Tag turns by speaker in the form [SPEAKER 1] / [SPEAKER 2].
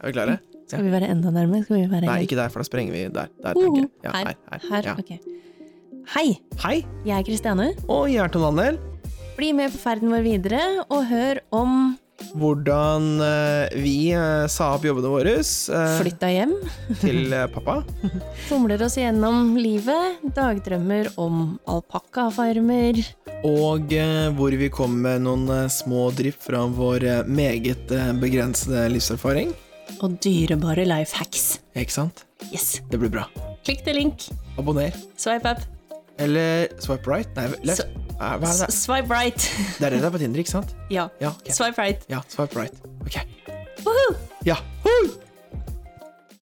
[SPEAKER 1] Er vi klare?
[SPEAKER 2] Skal vi være enda nærmere? Skal vi være
[SPEAKER 1] Nei,
[SPEAKER 2] helt-
[SPEAKER 1] ikke der, for da sprenger vi der. Der, tenker jeg. Ja,
[SPEAKER 2] Oh, Her.
[SPEAKER 1] her, her,
[SPEAKER 2] Her,
[SPEAKER 1] ja.
[SPEAKER 2] ok. Hei,
[SPEAKER 1] Hei,
[SPEAKER 2] jeg er Kristiane.
[SPEAKER 1] og jeg er Tom Daniel.
[SPEAKER 2] Bli med på ferden vår videre, og hør om
[SPEAKER 1] Hvordan eh, vi eh, sa opp jobbene våre eh,
[SPEAKER 2] flytta hjem,
[SPEAKER 1] til eh, pappa.
[SPEAKER 2] fomler oss gjennom livet, dagdrømmer om alpakkafarmer
[SPEAKER 1] Og eh, hvor vi kom med noen eh, små drypp fra vår eh, meget eh, begrensede livserfaring.
[SPEAKER 2] og dyrebare life hacks.
[SPEAKER 1] Ikke sant?
[SPEAKER 2] Yes.
[SPEAKER 1] Det blir bra.
[SPEAKER 2] Klikk til link.
[SPEAKER 1] Abonner.
[SPEAKER 2] Swipe up.
[SPEAKER 1] Eller swipe right. Nei, left.
[SPEAKER 2] Så-
[SPEAKER 1] Nei, Hva er det?
[SPEAKER 2] S- Swipe right.
[SPEAKER 1] Det er det der på Tinder, ikke sant?
[SPEAKER 2] ja.
[SPEAKER 1] Ja, ok.
[SPEAKER 2] Swipe right.
[SPEAKER 1] ja swipe right. Ok.
[SPEAKER 2] Woohoo!
[SPEAKER 1] Ja. Hoi!